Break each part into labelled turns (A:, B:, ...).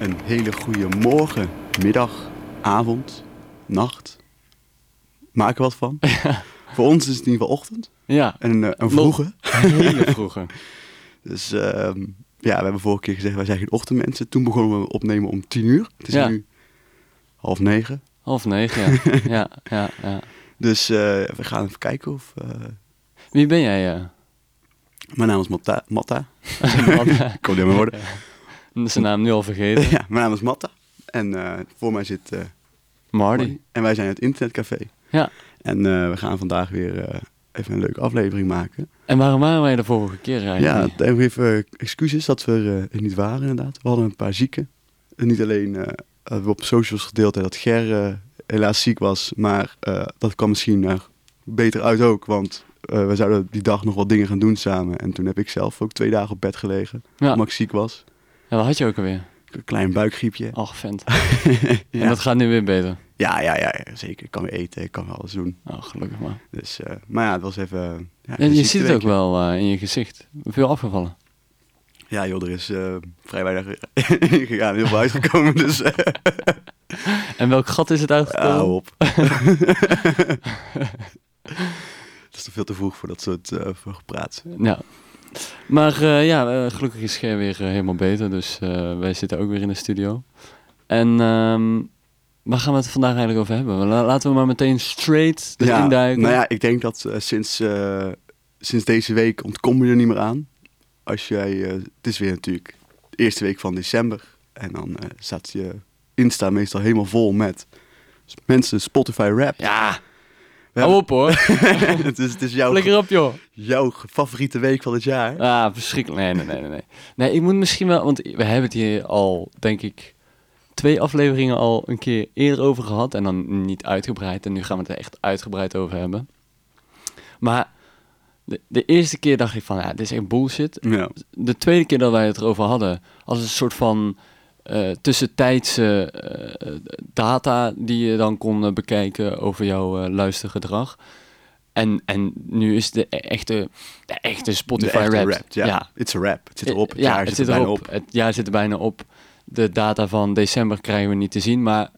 A: Een hele goede morgen, middag, avond, nacht. Maak er wat van. Voor ons is het in ieder geval ochtend.
B: Ja,
A: En een, eh, een
B: Nog-
A: vroege.
B: hele vroege.
A: Dus ehm, ja, we hebben vorige keer gezegd, wij zijn geen ochtendmensen. Toen begonnen we opnemen om tien uur. Het is
B: Ja.
A: nu half negen.
B: Half negen, ja. ja, ja, ja.
A: Dus eh, we gaan even kijken of... eh,
B: Wie ben jij? eh?
A: mijn naam is Matta. Matta. Ik kon niet meer worden.
B: Zijn naam nu al vergeten.
A: Ja, mijn naam is Matta. En eh, voor mij zit... eh,
B: Marty.
A: En wij zijn het internetcafé.
B: Ja.
A: En eh, we gaan vandaag weer eh, even een leuke aflevering maken.
B: En waarom waren wij de vorige keer
A: Ja,
B: eigenlijk?
A: even even excuses dat we er eh, niet waren inderdaad. We hadden een paar zieken. En niet alleen eh, hadden we op socials gedeeld hè, dat Ger eh, helaas ziek was. Maar eh, dat kwam misschien eh, beter uit ook. Want eh, we zouden die dag nog wat dingen gaan doen samen. En toen heb ik zelf ook twee dagen op bed gelegen.
B: Ja.
A: Omdat ik ziek was.
B: Ja, wat had je ook alweer?
A: Een klein buikgriepje.
B: Ach, vent. En
A: ja.
B: dat gaat nu weer beter.
A: ja, ja, ja, ja, zeker. Ik kan weer eten. Ik kan wel alles doen.
B: Oh, gelukkig maar.
A: Dus, eh, maar ja, het was even... eh, Ja,
B: En
A: een
B: dus je ziet het
A: ziekteweek.
B: ook wel eh, in je gezicht. Veel afgevallen.
A: Ja, joh, er is eh, vrij weinig in gegaan, heel veel uitgekomen, dus eh,
B: En welk gat is het
A: ja,
B: uitgekomen?
A: hou op. Het is toch veel te vroeg voor dat soort eh, voor gepraat.
B: Ja. Maar eh, ja, eh, gelukkig is Ger weer eh, helemaal beter. Dus eh, wij zitten ook weer in de studio. En ehm, waar gaan we het vandaag eigenlijk over hebben? La- Laten we maar meteen straight erin
A: ja,
B: duiken.
A: nou ja, ik denk dat eh, sinds, eh, sinds deze week ontkom je er niet meer aan. Als jij, eh, het is weer natuurlijk de eerste week van december en dan eh, staat je Insta meestal helemaal vol met mensen Spotify rap.
B: Ja,
A: We
B: hou
A: hebben-
B: op hoor.
A: het is, het is jouw,
B: Flikker op joh.
A: jouw favoriete week van het jaar.
B: Ah, verschrikkelijk. Nee, nee, nee, nee, nee. Nee, ik moet misschien wel... Want we hebben het hier al, denk ik, twee afleveringen al een keer eerder over gehad. En dan niet uitgebreid. En nu gaan we het er echt uitgebreid over hebben. Maar de, de eerste keer dacht ik van, ja, dit is echt bullshit.
A: Ja.
B: de tweede keer dat wij het erover hadden, als een soort van eh, tussentijdse eh, data die je dan kon eh, bekijken over jouw eh, luistergedrag. En, en nu is de e- echte, de echte Spotify
A: De echte
B: rap.
A: rap, ja. It's a rap. Het zit erop. Het
B: ja,
A: jaar
B: het
A: zit er bijna
B: erop.
A: op.
B: Het jaar zit er bijna op. De data van december krijgen we niet te zien, maar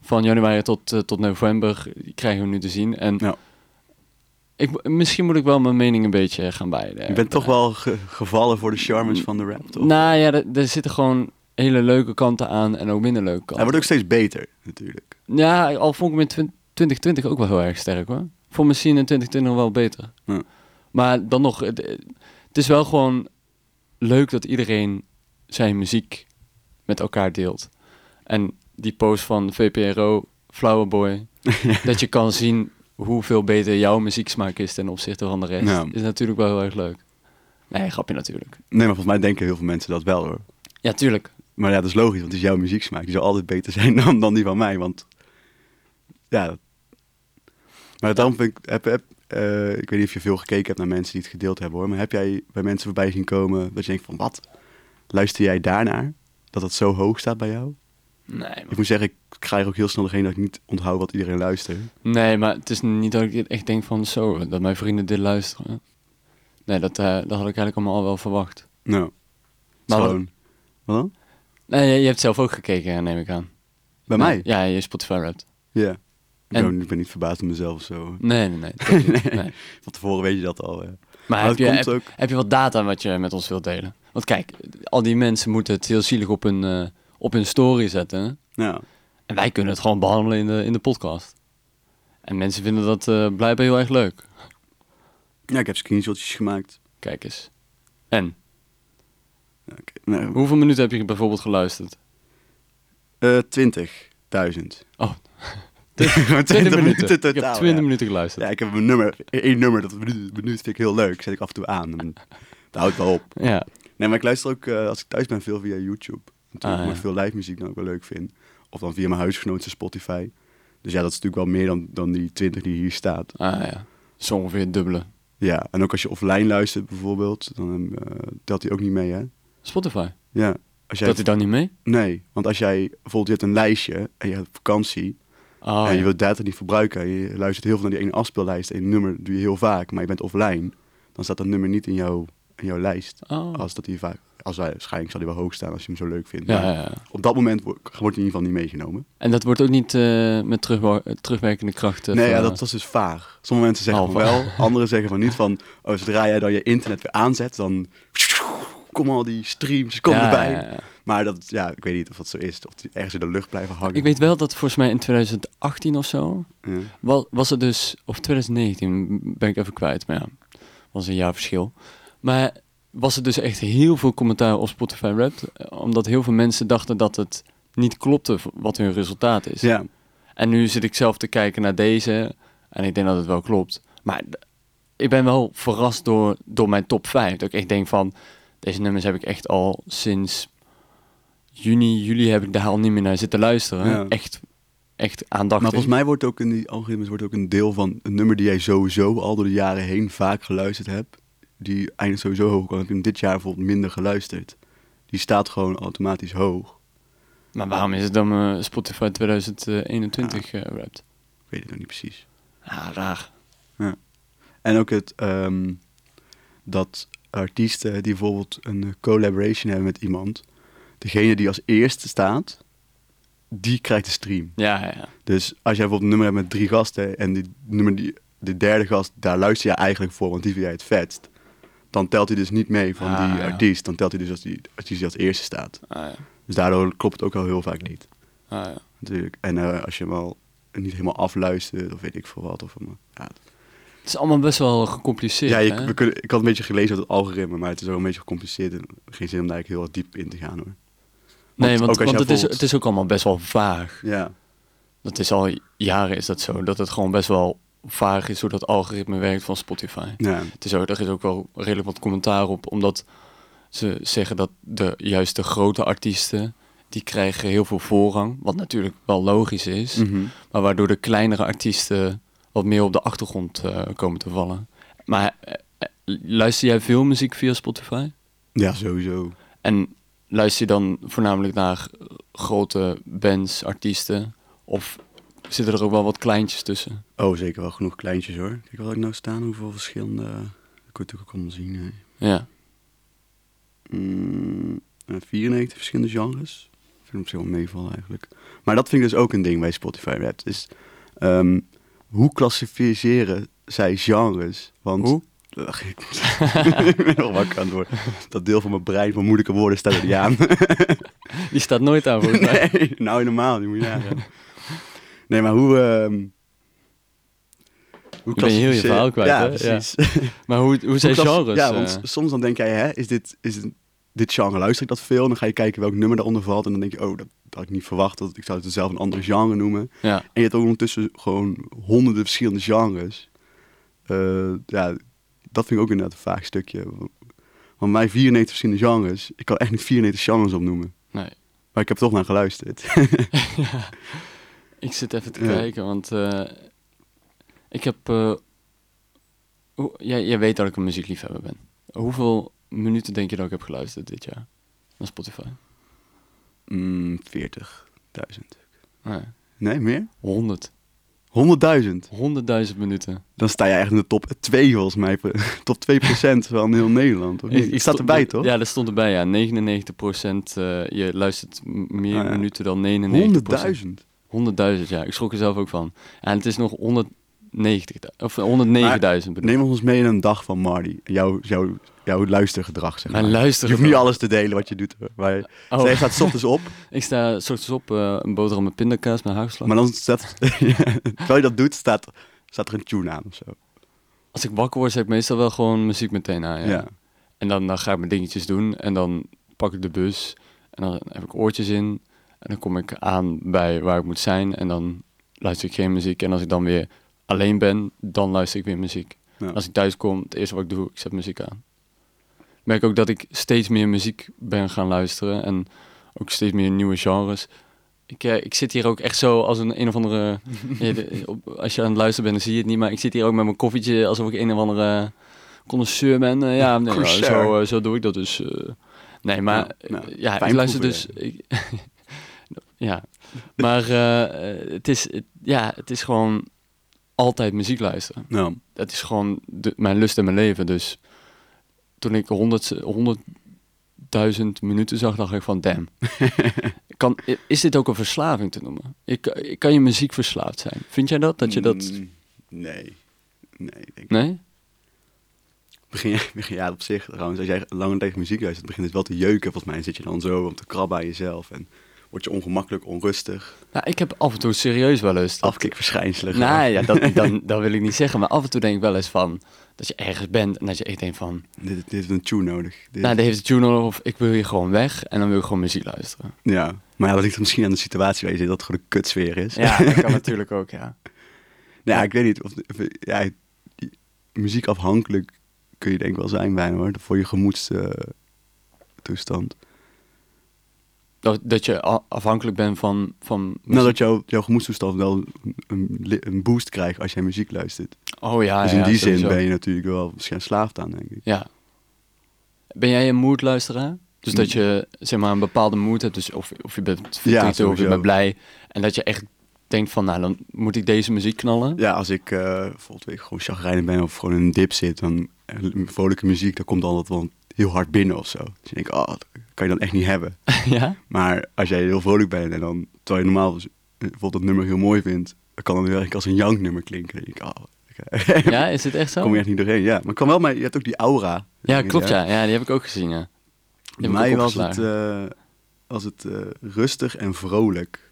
B: van januari tot, eh, tot november krijgen we nu te zien. En
A: Ja.
B: ik, misschien moet ik wel mijn mening een beetje gaan bij.
A: Je bent toch wel ge- gevallen voor de charmes van de rap, toch?
B: Nou ja, er, er zitten gewoon hele leuke kanten aan en ook minder leuke
A: Hij
B: kanten.
A: wordt ook steeds beter, natuurlijk.
B: Ja, al vond ik hem in twin- 2020 ook wel heel erg sterk hoor. Voor misschien in 2020 wel beter.
A: Ja.
B: Maar dan nog, het, het is wel gewoon leuk dat iedereen zijn muziek met elkaar deelt. En die post van VPRO, Flowerboy, dat je kan zien hoeveel beter jouw muzieksmaak is ten opzichte van de rest,
A: Ja.
B: is natuurlijk wel heel erg leuk. Nee, grapje natuurlijk.
A: Nee, maar volgens mij denken heel veel mensen dat wel, hoor.
B: Ja, tuurlijk.
A: Maar ja, dat is logisch, want het is jouw muzieksmaak. Die zal altijd beter zijn dan, dan die van mij, want... Ja, dat- Maar daarom vind ik... Heb, heb, eh, ik weet niet of je veel gekeken hebt naar mensen die het gedeeld hebben, hoor. Maar heb jij bij mensen voorbij zien komen dat je denkt van... Wat? Luister jij daarnaar? Dat dat zo hoog staat bij jou?
B: Nee,
A: Ik moet zeggen, ik krijg ook heel snel degene dat ik niet onthoud wat iedereen luistert. Nou,
B: Nee, maar het is niet dat ik echt denk van zo, dat mijn vrienden dit luisteren. Nee, dat, eh, dat had ik eigenlijk allemaal al wel verwacht.
A: Nou,
B: Maar wat-
A: gewoon... Wat dan?
B: Nee, je, je hebt zelf ook gekeken, neem ik aan.
A: Bij
B: Nee,
A: mij?
B: Ja, je Spotify rapt.
A: Ja. Ik
B: En-
A: ben- ik ben niet verbaasd om mezelf of zo.
B: Nee, nee, nee. dat niet.
A: Nee.
B: nee.
A: Van tevoren weet je dat al. hè.
B: Maar
A: Maar
B: heb
A: het
B: je,
A: komt
B: heb,
A: ook...
B: heb je wat data wat je met ons wilt delen? Want kijk, al die mensen moeten het heel zielig op hun, eh, op hun story zetten.
A: Ja.
B: En wij kunnen het gewoon behandelen in de, in de podcast. En mensen vinden dat eh, blijkbaar heel erg leuk.
A: ja, ik heb screenshotjes gemaakt.
B: Kijk eens. En,
A: Oké. Nou,
B: hoeveel minuten heb je bijvoorbeeld geluisterd?
A: eh, 20.000.
B: Oh.
A: 20,
B: 20 minuten.
A: minuten
B: ik heb
A: totaal.
B: 20
A: ja.
B: minuten geluisterd.
A: Ja, ik heb een nummer, één nummer, dat minuut minuut vind ik heel leuk. Zet ik af en toe aan. En dat houdt wel op.
B: Ja.
A: Nee, maar ik luister ook, eh, als ik thuis ben, veel via YouTube. Natuurlijk,
B: Ah, ja.
A: maar veel live muziek dan ook wel leuk vind. Of dan via mijn huisgenoot zijn Spotify. Dus ja, dat is natuurlijk wel meer dan, dan die 20 die hier staat.
B: Ah ja. Zo ongeveer het dubbele.
A: Ja, en ook als je offline luistert bijvoorbeeld, dan eh, telt hij ook niet mee, hè?
B: Spotify.
A: Ja. Als jij,
B: Dat hij dan niet mee?
A: Nee, want als jij bijvoorbeeld je hebt een lijstje en je hebt vakantie
B: Oh,
A: en je
B: ja.
A: wilt data niet verbruiken, en je luistert heel veel naar die ene afspeellijst en een nummer doe je heel vaak, maar je bent offline, dan staat dat nummer niet in jouw, in jouw lijst
B: Oh.
A: als dat hier vaak als hij, waarschijnlijk zal hij wel hoog staan als je hem zo leuk vindt.
B: Ja,
A: Maar
B: ja, ja.
A: Op dat moment wo- wordt hij in ieder geval niet meegenomen.
B: En dat wordt ook niet eh, met terugwa- terugwerkende eh, krachten.
A: nee, ja, dat was dus vaag. Sommige mensen zeggen van wel,
B: Halve.
A: anderen zeggen van niet. Van, oh, zodra jij dan je internet weer aanzet, dan komen al die streams komen erbij. Maar dat, ja, ik weet niet of dat zo is. Of die ergens in de lucht blijven hangen.
B: Ik weet wel dat volgens mij in 2018 of zo,
A: Ja.
B: was, was het dus, of 2019 ben ik even kwijt, maar ja, was een jaar verschil. Maar was er dus echt heel veel commentaar op Spotify Wrapped, eh, omdat heel veel mensen dachten dat het niet klopte v- wat hun resultaat is.
A: ja,
B: En nu zit ik zelf te kijken naar deze en ik denk dat het wel klopt. Maar d- ik ben wel verrast door, door mijn top 5. Dat ik echt denk van, deze nummers heb ik echt al sinds juni, juli heb ik daar al niet meer naar zitten luisteren.
A: Ja.
B: Echt, echt aandachtig.
A: maar volgens mij wordt ook in die algoritmes wordt ook een deel van een nummer die jij sowieso al door de jaren heen vaak geluisterd hebt. Die eindigt sowieso hoog. Want ik heb hem dit jaar bijvoorbeeld minder geluisterd. Die staat gewoon automatisch hoog.
B: Maar waarom is het dan eh, Spotify 2021 eh wrapped?
A: Ik weet het nog niet precies.
B: Ah, raar.
A: En ook het ehm, dat artiesten die bijvoorbeeld een eh, collaboration hebben met iemand, degene die als eerste staat, die krijgt de stream.
B: Ja, ja, ja.
A: Dus als jij bijvoorbeeld een nummer hebt met drie gasten en die nummer die, de derde gast, daar luister je eigenlijk voor, want die vind jij het vetst. Dan telt hij dus niet mee van
B: Ah,
A: die
B: ja.
A: artiest. Dan telt hij dus als die artiest die als eerste staat.
B: Ah, ja.
A: Dus daardoor klopt het ook al heel vaak niet.
B: Ah, ja.
A: Natuurlijk. En eh, als je hem al niet helemaal afluistert, of weet ik veel wat. Of, hem- ja,
B: Het is allemaal best wel gecompliceerd,
A: Ja, ik,
B: hè?
A: we kunnen, ik had een beetje gelezen uit het algoritme, maar het is ook een beetje gecompliceerd. En geen zin om daar eigenlijk heel erg diep in te gaan hoor.
B: nee,
A: ook als
B: want,
A: jij
B: want het, is,
A: bijvoorbeeld-
B: het is ook allemaal best wel vaag.
A: Ja,
B: Dat is al jaren is dat zo, dat het gewoon best wel vaag is hoe dat algoritme werkt van Spotify.
A: ja.
B: Het is ook, er is ook wel redelijk wat commentaar op, omdat ze zeggen dat de, juist de grote artiesten, die krijgen heel veel voorrang, wat natuurlijk wel logisch is,
A: Mhm.
B: maar waardoor de kleinere artiesten wat meer op de achtergrond eh, komen te vallen. Maar eh, eh, luister jij veel muziek via Spotify?
A: ja sowieso.
B: En luister je dan voornamelijk naar eh, grote bands, artiesten? Of zitten er ook wel wat kleintjes tussen?
A: Oh, zeker wel genoeg kleintjes hoor. Kijk wat ik nou staan, hoeveel verschillende... Dat kun je natuurlijk ook allemaal zien. Hè.
B: Ja.
A: Mm, eh, 94 verschillende genres. Vind ik op zich wel meevallen eigenlijk. Maar dat vind ik dus ook een ding bij Spotify Wrapped. Is, ehm, hoe klassificeren zij genres? Want,
B: Hoe?
A: Ugh, ik ben nog wakker aan het worden. Dat deel van mijn brein van moeilijke woorden staat er niet aan.
B: Die staat nooit aan voor mij.
A: Nee, nou helemaal niet. Moet je nagaan. Nee, maar hoe... ehm hoe
B: Ik ben heel
A: klassificeren-
B: je verhaal kwijt,
A: Ja,
B: hè? Ja.
A: precies.
B: Maar hoe, hoe zijn
A: Hoe klassi-
B: genres?
A: Ja,
B: eh?
A: want soms dan denk jij, hè, is dit, is dit- dit genre, luister ik dat veel? En dan ga je kijken welk nummer daaronder valt. En dan denk je, oh, dat had ik niet verwacht. Dat, ik zou het zelf een ander genre noemen. En
B: ja.
A: je hebt ook ondertussen gewoon honderden verschillende genres. Eh, ja, dat vind ik ook inderdaad een vaag stukje. Want mijn 94 verschillende genres, ik kan echt niet 94 genres opnoemen.
B: Nee.
A: Maar ik heb toch naar geluisterd.
B: Ik zit even te
A: Ja.
B: kijken, want eh, ik heb... eh, hoe- jij, jij weet dat ik een muziekliefhebber ben. Hoeveel minuten denk je dat ik heb geluisterd dit jaar? Naar Spotify?
A: Mm, 40.000.
B: Nee.
A: Nee, meer?
B: 100.
A: 100.000.
B: 100.000 minuten.
A: Dan sta je echt in de top 2 volgens mij. Top 2% van heel Nederland. Of niet?
B: Ik- ik
A: Het staat
B: stond-
A: erbij, toch?
B: Ja, dat stond erbij, ja. 99%, eh, je luistert m- meer
A: Ah, ja.
B: minuten dan 99%.
A: 100.000.
B: 100.000, ja. Ik schrok er zelf ook van. En het is nog 190.000, of 109.000 bedoel ik.
A: Neem ons mee in een dag van Marty. Jouw, jouw, jouw luistergedrag, zeg maar.
B: Mijn
A: je
B: luisteren.
A: hoeft niet alles te delen wat je doet. hoor. Maar
B: Oh,
A: zij staat 's ochtends op,
B: ik sta soort op, eh, een boterham met pindakaas, met haagslag.
A: maar dan staat... terwijl je dat doet, staat, staat er een tune aan of zo.
B: Als ik wakker word, zet ik meestal wel gewoon muziek meteen aan, ja.
A: Ja.
B: En dan, dan ga ik mijn dingetjes doen en dan pak ik de bus en dan heb ik oortjes in. En dan kom ik aan bij waar ik moet zijn en dan luister ik geen muziek. En als ik dan weer alleen ben, dan luister ik weer muziek.
A: Ja.
B: Als ik thuis kom, het eerste wat ik doe, ik zet muziek aan. Ik merk ook dat ik steeds meer muziek ben gaan luisteren en ook steeds meer nieuwe genres. Ik, eh, ik zit hier ook echt zo als een, een of andere... ja, de- op- als je aan het luisteren bent, dan zie je het niet, maar ik zit hier ook met mijn koffietje alsof ik een of andere connoisseur ben. Eh, ja, nee,
A: Connoisseur.
B: zo, eh, zo doe ik dat dus. eh. nee, maar
A: Ja,
B: ja,
A: nou,
B: ja ik
A: fijn
B: luister dus...
A: proeven.
B: ik- ja, maar eh, eh, het, is, het- ja, het is gewoon altijd muziek luisteren
A: Nou,
B: dat is gewoon de- mijn lust en mijn leven. Dus toen ik 100, 100 duizend minuten zag, dacht ik van, damn. kan, is dit ook een verslaving te noemen? Ik, kan je muziek verslaafd zijn? Vind jij dat? Dat je dat...
A: Mm, Nee. Nee, ik denk
B: Nee?
A: begin, jij- begin ja, op zich trouwens. Als jij lang tegen muziek luistert, begint het wel te jeuken. Volgens mij zit je dan zo om te krabben aan jezelf. En word je ongemakkelijk, onrustig,
B: Nou, ik heb af en toe serieus wel eens... dat-
A: afkikverschijnselen.
B: Nou ja, dat, dan, dat wil ik niet zeggen. Maar af en toe denk ik wel eens van... Dat je ergens bent en dat je echt denkt van...
A: Dit, dit heeft een tune nodig. Dit-
B: Nou, die heeft het journal of ik wil hier gewoon weg. En dan wil ik gewoon muziek luisteren.
A: Ja, maar ja, dat ligt misschien aan de situatie waar je zit, dat het gewoon een kutsfeer is.
B: Ja, dat kan natuurlijk ook, ja.
A: Nou ja, ik weet niet. Of, of- ja, die- muziekafhankelijk kun je denk ik wel zijn bijna hoor. Voor je gemoedstoestand.
B: Dat, dat je a- afhankelijk bent van... van
A: nou, dat jouw, jouw gemoedstoestand wel een, li- een boost krijgt als jij muziek luistert.
B: Oh ja,
A: dus
B: ja,
A: in die
B: sowieso.
A: zin ben je natuurlijk wel misschien slaafd aan, denk ik.
B: Ja. Ben jij een moodluisteraar? Dus dat
A: Mm.
B: je zeg maar een bepaalde mood hebt, dus of, of je bent verdrietig of je
A: sowieso.
B: bent blij. En dat je echt denkt van, nou dan moet ik deze muziek knallen.
A: Ja, als ik eh bijvoorbeeld weet ik, gewoon chagrijnig ben of gewoon in een dip zit, dan eh, vrolijke muziek, dan komt altijd wel heel hard binnen of zo. Dus je denkt, oh, dat kan je dan echt niet hebben.
B: ja?
A: Maar als jij heel vrolijk bent en dan, terwijl je normaal eh, bijvoorbeeld dat nummer heel mooi vindt, dan kan het heel erg als een jank nummer klinken. Dan denk ik, oh, oké.
B: ja, is dit echt zo?
A: kom je echt niet doorheen. Ja, maar kan wel, maar je hebt ook die aura.
B: Ja, klopt ja. ja. Die heb ik ook gezien, ja. Die
A: Bij
B: heb ik
A: mij
B: ook
A: was het,
B: opgeslagen.
A: eh, was het eh, rustig en vrolijk.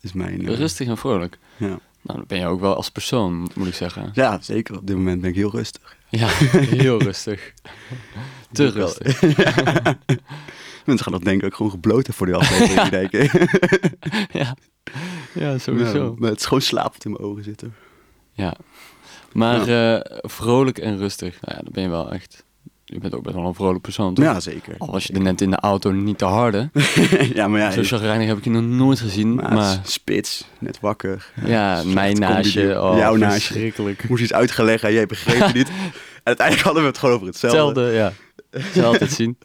A: Is mijn. eh,
B: Rustig en vrolijk.
A: Ja.
B: Nou, dan ben je ook wel als persoon, moet ik zeggen.
A: ja, zeker. Op dit moment ben ik heel rustig.
B: Ja, heel rustig. Te
A: Ik wel.
B: rustig.
A: Mensen gaan dat denk ik ook gewoon gebloten voor die aflevering kijken.
B: Ja, ja sowieso.
A: Ja, maar het is gewoon slaap wat in mijn ogen zitten.
B: Ja. Maar eh, vrolijk en rustig, nou ja, dan ben je wel echt... Je bent ook best wel een vrolijk persoon, toch?
A: Ja, zeker.
B: Al was Oh, je er net in de auto niet te harde.
A: ja, maar ja,
B: Zo chagrijnig heb ik je nog nooit gezien.
A: maar
B: Maar,
A: het is spits, net wakker.
B: ja,
A: slecht
B: mijn naast
A: combi-
B: je. Oh,
A: jouw naast je.
B: verschrikkelijk.
A: Ik moest iets uitgelegd en jij begreep het niet. En uiteindelijk hadden we het gewoon over hetzelfde.
B: Hetzelfde, ja. Zal altijd zien.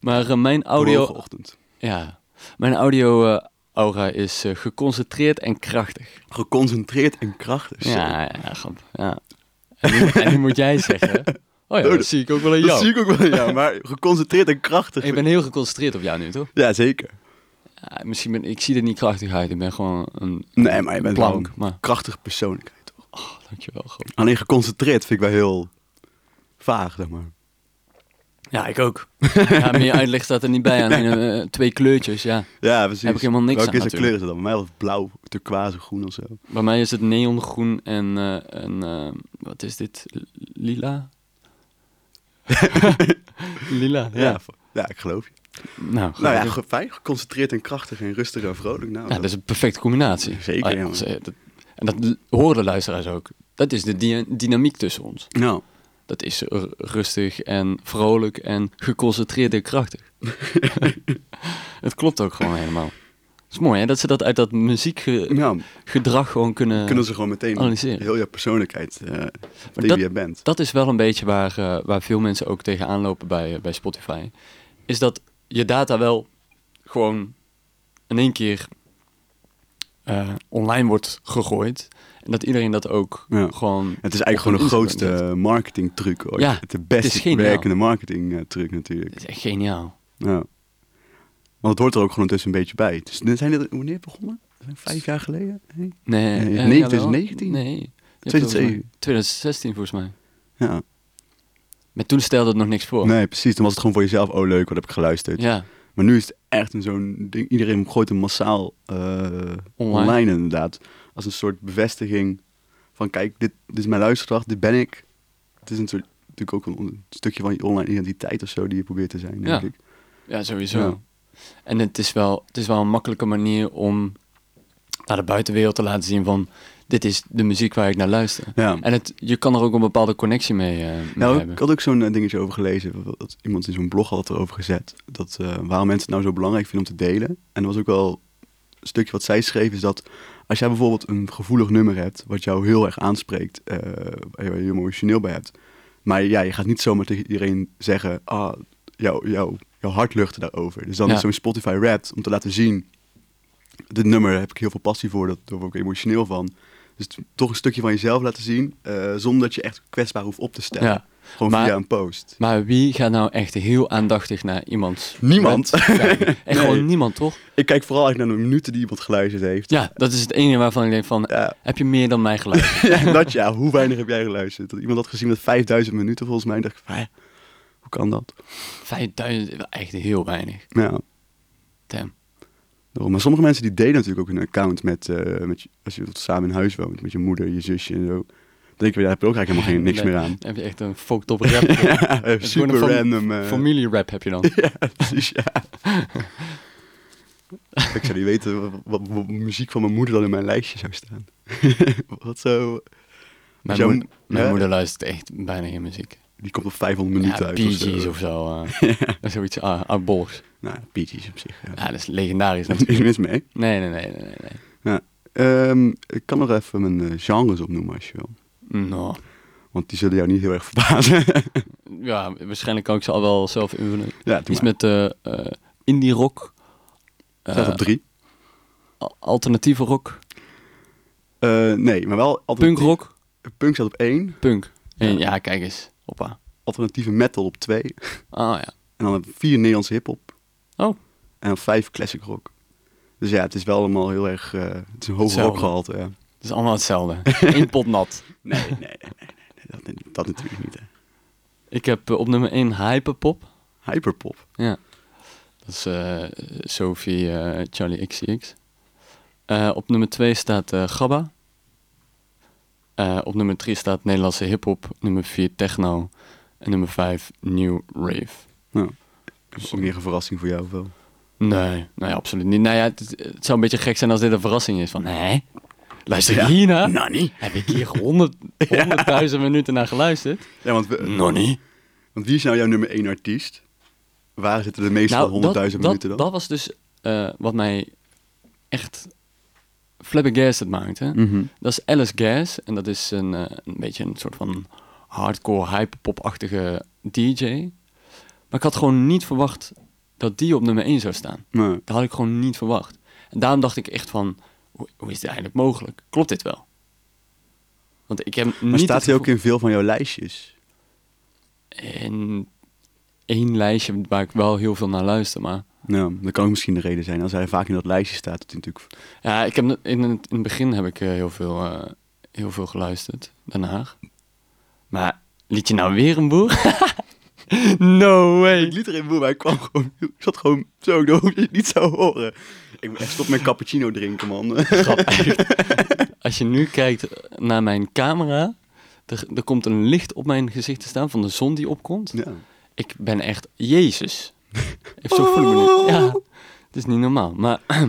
B: Maar eh, mijn
A: Morgenochtend.
B: audio... Ja. Mijn audio eh, aura is eh, geconcentreerd en krachtig.
A: Geconcentreerd en krachtig.
B: Ja, ja, grap. Ja. En nu, en nu moet jij zeggen... Oh ja,
A: Oh,
B: dat
A: dat-
B: zie ik ook wel in
A: dat
B: jou.
A: zie ik ook wel in jou, maar geconcentreerd en krachtig.
B: Ik ben heel geconcentreerd op jou nu, toch?
A: Ja, zeker.
B: Ja, misschien ben ik... zie er niet krachtig uit. Ik ben gewoon een
A: Nee, maar je bent wel
B: plank.
A: een
B: Maar,
A: krachtige persoonlijkheid. Toch?
B: oh, dankjewel, grap.
A: Alleen geconcentreerd vind ik wel heel vaag, zeg maar.
B: Ja, ik ook. Ja, meer uitleg staat er niet bij aan. Eh, twee kleurtjes, ja.
A: Ja, precies.
B: Heb ik helemaal niks
A: Welke
B: aan,
A: is de kleur is het dan? Bij mij was het blauw, turquoise, groen of zo.
B: Bij mij is het neongroen en, eh, en eh, wat is dit? L- Lila? Lila, ja.
A: Ja, ja ik geloof je.
B: Nou, goed.
A: Nou ja, ge- fijn. Geconcentreerd en krachtig en rustig en vrolijk. Nou,
B: Ja, dat is een perfecte combinatie.
A: Zeker,
B: Ah, ja,
A: jongen.
B: dat is, eh, dat- en dat l- horen de luisteraars ook. Dat is de dia- dynamiek tussen ons.
A: Nou,
B: Dat is r- rustig en vrolijk en geconcentreerd en krachtig. het klopt ook gewoon helemaal. Het is mooi hè, dat ze dat uit dat muziekgedrag
A: nou,
B: gewoon kunnen...
A: kunnen ze gewoon meteen
B: Eh, analyseren.
A: heel je persoonlijkheid, eh wie
B: dat-
A: je bent.
B: Dat is wel een beetje waar, eh, waar veel mensen ook tegenaan lopen bij, eh, bij Spotify. Is dat je data wel gewoon in één keer eh, online wordt gegooid. En dat iedereen dat ook
A: Ja.
B: gewoon...
A: Het is
B: op
A: eigenlijk gewoon de
B: Instagram zet.
A: grootste marketingtruc ooit.
B: Ja,
A: de
B: het is
A: beste
B: geniaal.
A: werkende marketingtruc natuurlijk.
B: Het is echt geniaal.
A: Ja. Want het hoort er ook gewoon intussen een beetje bij. Dus zijn dit, wanneer begonnen? Zijn vijf jaar geleden? Nee.
B: Nee,
A: Nee,
B: eh,
A: nee,
B: jawel.
A: 2019?
B: Nee. Je hebt
A: 2007.
B: volgens mij- 2016 volgens mij.
A: Ja.
B: Maar toen stelde het nog niks voor.
A: nee, precies. Dan was het gewoon voor jezelf, oh leuk, wat heb ik geluisterd.
B: Ja,
A: Maar nu is het echt een zo'n ding. Iedereen gooit hem massaal eh, online. inderdaad. Als een soort bevestiging van kijk, dit, dit is mijn luisterkracht, dit ben ik. Het is een soort, natuurlijk ook een, on- stukje van je online identiteit of zo die je probeert te zijn, denk
B: Ja.
A: ik.
B: ja sowieso.
A: Ja.
B: En het is, wel, het is wel een makkelijke manier om aan de buitenwereld te laten zien van... Dit is de muziek waar ik naar luister.
A: Ja.
B: En het, je kan er ook een bepaalde connectie mee, eh, mee
A: Nou,
B: hebben.
A: ik had ook zo'n eh, dingetje over gelezen. wat- wat iemand in zo'n blog had het erover gezet. Dat, eh, waarom mensen het nou zo belangrijk vinden om te delen. En er was ook wel een stukje wat zij schreef. Is dat als jij bijvoorbeeld een gevoelig nummer hebt. Wat jou heel erg aanspreekt. eh, waar je heel emotioneel bij hebt. Maar ja, je gaat niet zomaar tegen iedereen zeggen. Ah, jouw jou, jou hart luchtte daarover. Dus dan
B: Ja.
A: is zo'n Spotify Wrapped. Om te laten zien. Dit nummer heb ik heel veel passie voor. Dat, daar word ik emotioneel van. Dus t- toch een stukje van jezelf laten zien, eh, zonder dat je echt kwetsbaar hoeft op te stellen.
B: Ja.
A: Gewoon
B: maar-
A: via een post.
B: Maar wie gaat nou echt heel aandachtig naar iemand?
A: Niemand.
B: Echt
A: Nee.
B: gewoon niemand, toch?
A: Ik kijk vooral eigenlijk naar de minuten die iemand geluisterd heeft.
B: Ja, dat is het enige waarvan ik denk van,
A: Ja.
B: heb je meer dan mij geluisterd?
A: Ja, dat ja, hoe weinig heb jij geluisterd? Dat iemand had gezien met 5000 minuten volgens mij. En dacht ik, van, hè, hoe kan dat?
B: 5000, echt heel weinig.
A: Ja,
B: Damn.
A: daarom. Maar sommige mensen die delen natuurlijk ook hun account met, eh, met je- als je samen in huis woont, met je moeder, je zusje en zo. Dan denk je, ja, daar heb je ook eigenlijk helemaal geen, niks
B: Nee,
A: meer aan.
B: Dan heb je echt een fucked up rap.
A: Ja, eh,
B: is gewoon
A: super
B: een fam-
A: random. eh,
B: Familie rap heb je dan.
A: ja, precies, ja. ik zou niet weten wat, wat- wat muziek van mijn moeder dan in mijn lijstje zou staan. wat zo...
B: Mijn,
A: Zo'n-
B: moed- mijn
A: ja.
B: moeder luistert echt bijna geen muziek.
A: Die komt op 500 minuten
B: Ja,
A: uit.
B: Bee
A: of zo.
B: Gees of zo. eh. Zoiets ah, oudbolligs.
A: Nou, Bee Gees op zich. Ja.
B: Ja, dat is legendarisch
A: Daar is
B: natuurlijk.
A: niks mis mee.
B: Nee, nee, nee, nee, nee, nee.
A: Ehm, ik kan nog even mijn eh, genres opnoemen als je wil.
B: Nou,
A: Want die zullen jou niet heel erg verbazen.
B: ja, waarschijnlijk kan ik ze al wel zelf invullen.
A: ja, doe
B: Iets
A: maar.
B: met eh, eh, indie rock. eh,
A: Staat op drie.
B: al- alternatieve rock.
A: Eh, nee, maar wel...
B: Punk
A: alternatief-
B: rock.
A: Punk staat op één.
B: Punk. En ja, kijk eens. Hoppa.
A: Alternatieve metal op twee.
B: Ah ja.
A: En dan op vier Nederlandse hiphop.
B: Oh.
A: En op vijf classic rock. Dus ja, het is wel allemaal heel erg... eh, het is een hoog
B: Hetzelfde.
A: rockgehalte. Ja.
B: Het is allemaal hetzelfde. Eén pot nat.
A: Nee, nee, nee, nee, nee, nee, dat, dat natuurlijk niet. Hè.
B: Ik heb eh, op nummer 1 Hyperpop.
A: Hyperpop.
B: Ja. Dat is eh, Sophie eh, Charlie XCX. Eh, op nummer 2 staat eh, Gabba. Eh, op nummer 3 staat Nederlandse hip-hop. Nummer 4 techno. En nummer 5 New Rave.
A: Nou, Is Ook meer een verrassing voor jou of wel?
B: Nee, nee, absoluut niet. Nou ja, het, het zou een beetje gek zijn als dit een verrassing is. Van, hè? Luister ik
A: Ja. Nou.
B: hiernaar?
A: Nanny.
B: Heb ik hier honderd- honderdduizend minuten naar geluisterd?
A: Ja, want, we-
B: Nonnie.
A: want wie is nou jouw nummer één artiest? Waar zitten de meeste
B: Nou, dat,
A: 100.000
B: dat,
A: minuten dan?
B: dat was dus eh, wat mij echt flabbergasted maakte.
A: Mhm.
B: Dat is Alice Gas. En dat is een, eh, een beetje een soort van hardcore, hyperpop-achtige DJ. Maar ik had gewoon niet verwacht dat die op nummer 1 zou staan.
A: Maar,
B: Dat had ik gewoon niet verwacht. En daarom dacht ik echt van, hoe, hoe is dit eigenlijk mogelijk? Klopt dit wel? Want ik heb niet...
A: maar staat
B: het
A: hij ook
B: gevoel-
A: in veel van jouw lijstjes?
B: in één lijstje waar ik wel heel veel naar luister, maar...
A: Nou, dat kan ook misschien de reden zijn. Als hij vaak in dat lijstje staat, dat hij natuurlijk...
B: Ja, ik heb net- in het, in het begin heb ik eh, heel, veel, eh, heel veel geluisterd, daarna. Maar liet je nou weer een boer? no
A: Ik
B: way!
A: liet erin boer, maar ik kwam gewoon... Ik zat gewoon zo, ik hoop je het niet zou horen. Ik moet echt stop met cappuccino drinken, man.
B: Grap, echt. Als je nu kijkt eh, naar mijn camera, er, er komt een licht op mijn gezicht te staan van de zon die opkomt.
A: Ja.
B: Ik ben echt Jezus. Even zo voel ik me
A: Oh.
B: nu. Ja, het is niet normaal. Maar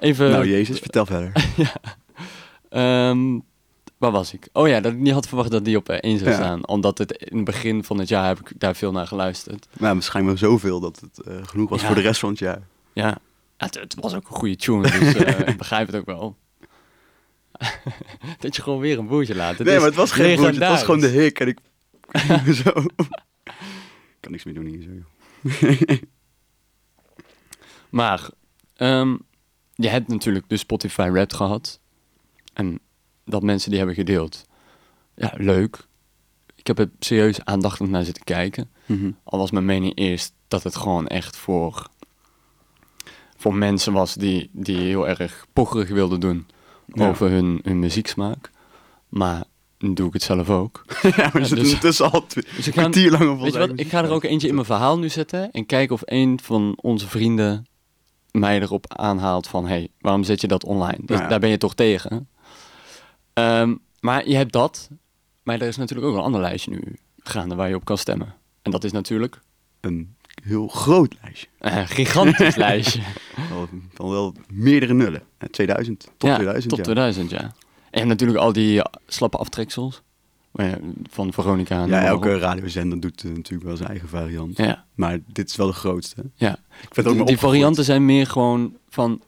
B: even...
A: nou, Jezus, vertel verder.
B: Ehm, waar was ik? Oh ja, dat ik niet had verwacht dat die op eh, één zou
A: Ja.
B: staan. Omdat het in het begin van het jaar heb ik daar veel naar geluisterd.
A: nou, misschien wel zoveel dat het eh, genoeg was
B: Ja.
A: voor de rest van het jaar.
B: Ja, het, het was ook een goede tune, dus eh, ik begrijp het ook wel. dat je gewoon weer een boertje laat. Het
A: nee,
B: is
A: maar het was geen broertje, het was
B: legendarisch.
A: gewoon de hik. En ik... zo. Ik kan niks meer doen hier, zo. joh.
B: Maar, ehm, je hebt natuurlijk de Spotify Wrapped gehad. En dat mensen die hebben gedeeld. Ja, leuk. Ik heb er serieus aandachtig naar zitten kijken.
A: Mhm.
B: Al was mijn mening eerst dat het gewoon echt voor, voor mensen was die, die heel erg pocherig wilden doen
A: Ja.
B: over hun, hun muzieksmaak. Maar nu doe ik het zelf ook.
A: ja, we
B: Ja,
A: zitten
B: dus-
A: intussen al twee,
B: Dus ik,
A: een
B: ga,
A: kwartier lang op
B: weet
A: onze
B: je wat,
A: eigen
B: ik ga er
A: muziek.
B: ook eentje in mijn verhaal nu zetten en kijken of een van onze vrienden mij erop aanhaalt van... hey, waarom zet je dat online? Dat-
A: Nou ja.
B: Daar ben je toch tegen? Ehm, maar je hebt dat. Maar er is natuurlijk ook een ander lijstje nu gaande waar je op kan stemmen. En dat is natuurlijk
A: Een heel groot lijstje.
B: Een gigantisch lijstje.
A: Wel- Dan wel meerdere nullen. Eh, 2000, top
B: ja,
A: 2000,
B: Top
A: ja.
B: 2000, ja. En natuurlijk al die eh, slappe aftreksels. Maar ja, Van Veronica. en noem
A: Ja,
B: maar
A: elke
B: op.
A: radiozender doet eh, natuurlijk wel zijn eigen variant.
B: Ja,
A: Maar dit is wel de grootste. Ik
B: ja.
A: vind het ook maar
B: die
A: opgegroeid.
B: varianten zijn meer gewoon van...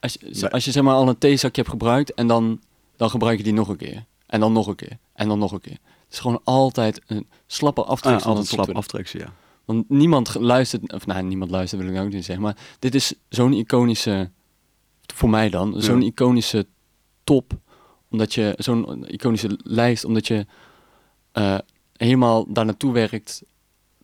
B: Als
A: Nee.
B: je, als je zeg maar al een theezakje hebt gebruikt en dan, dan gebruik je die nog een keer. En dan nog een keer. En dan nog een keer. Het is gewoon altijd een slappe
A: Ah,
B: aftreksel. van
A: altijd
B: de
A: slap
B: top 20.
A: aftreksel, ja.
B: Want niemand ge- luistert... Of nou, niemand luistert wil ik nou ook niet zeggen. Maar dit is zo'n iconische... Voor mij dan. Zo'n
A: Ja.
B: iconische top Omdat je zo'n iconische lijst, omdat je eh, helemaal daar naartoe werkt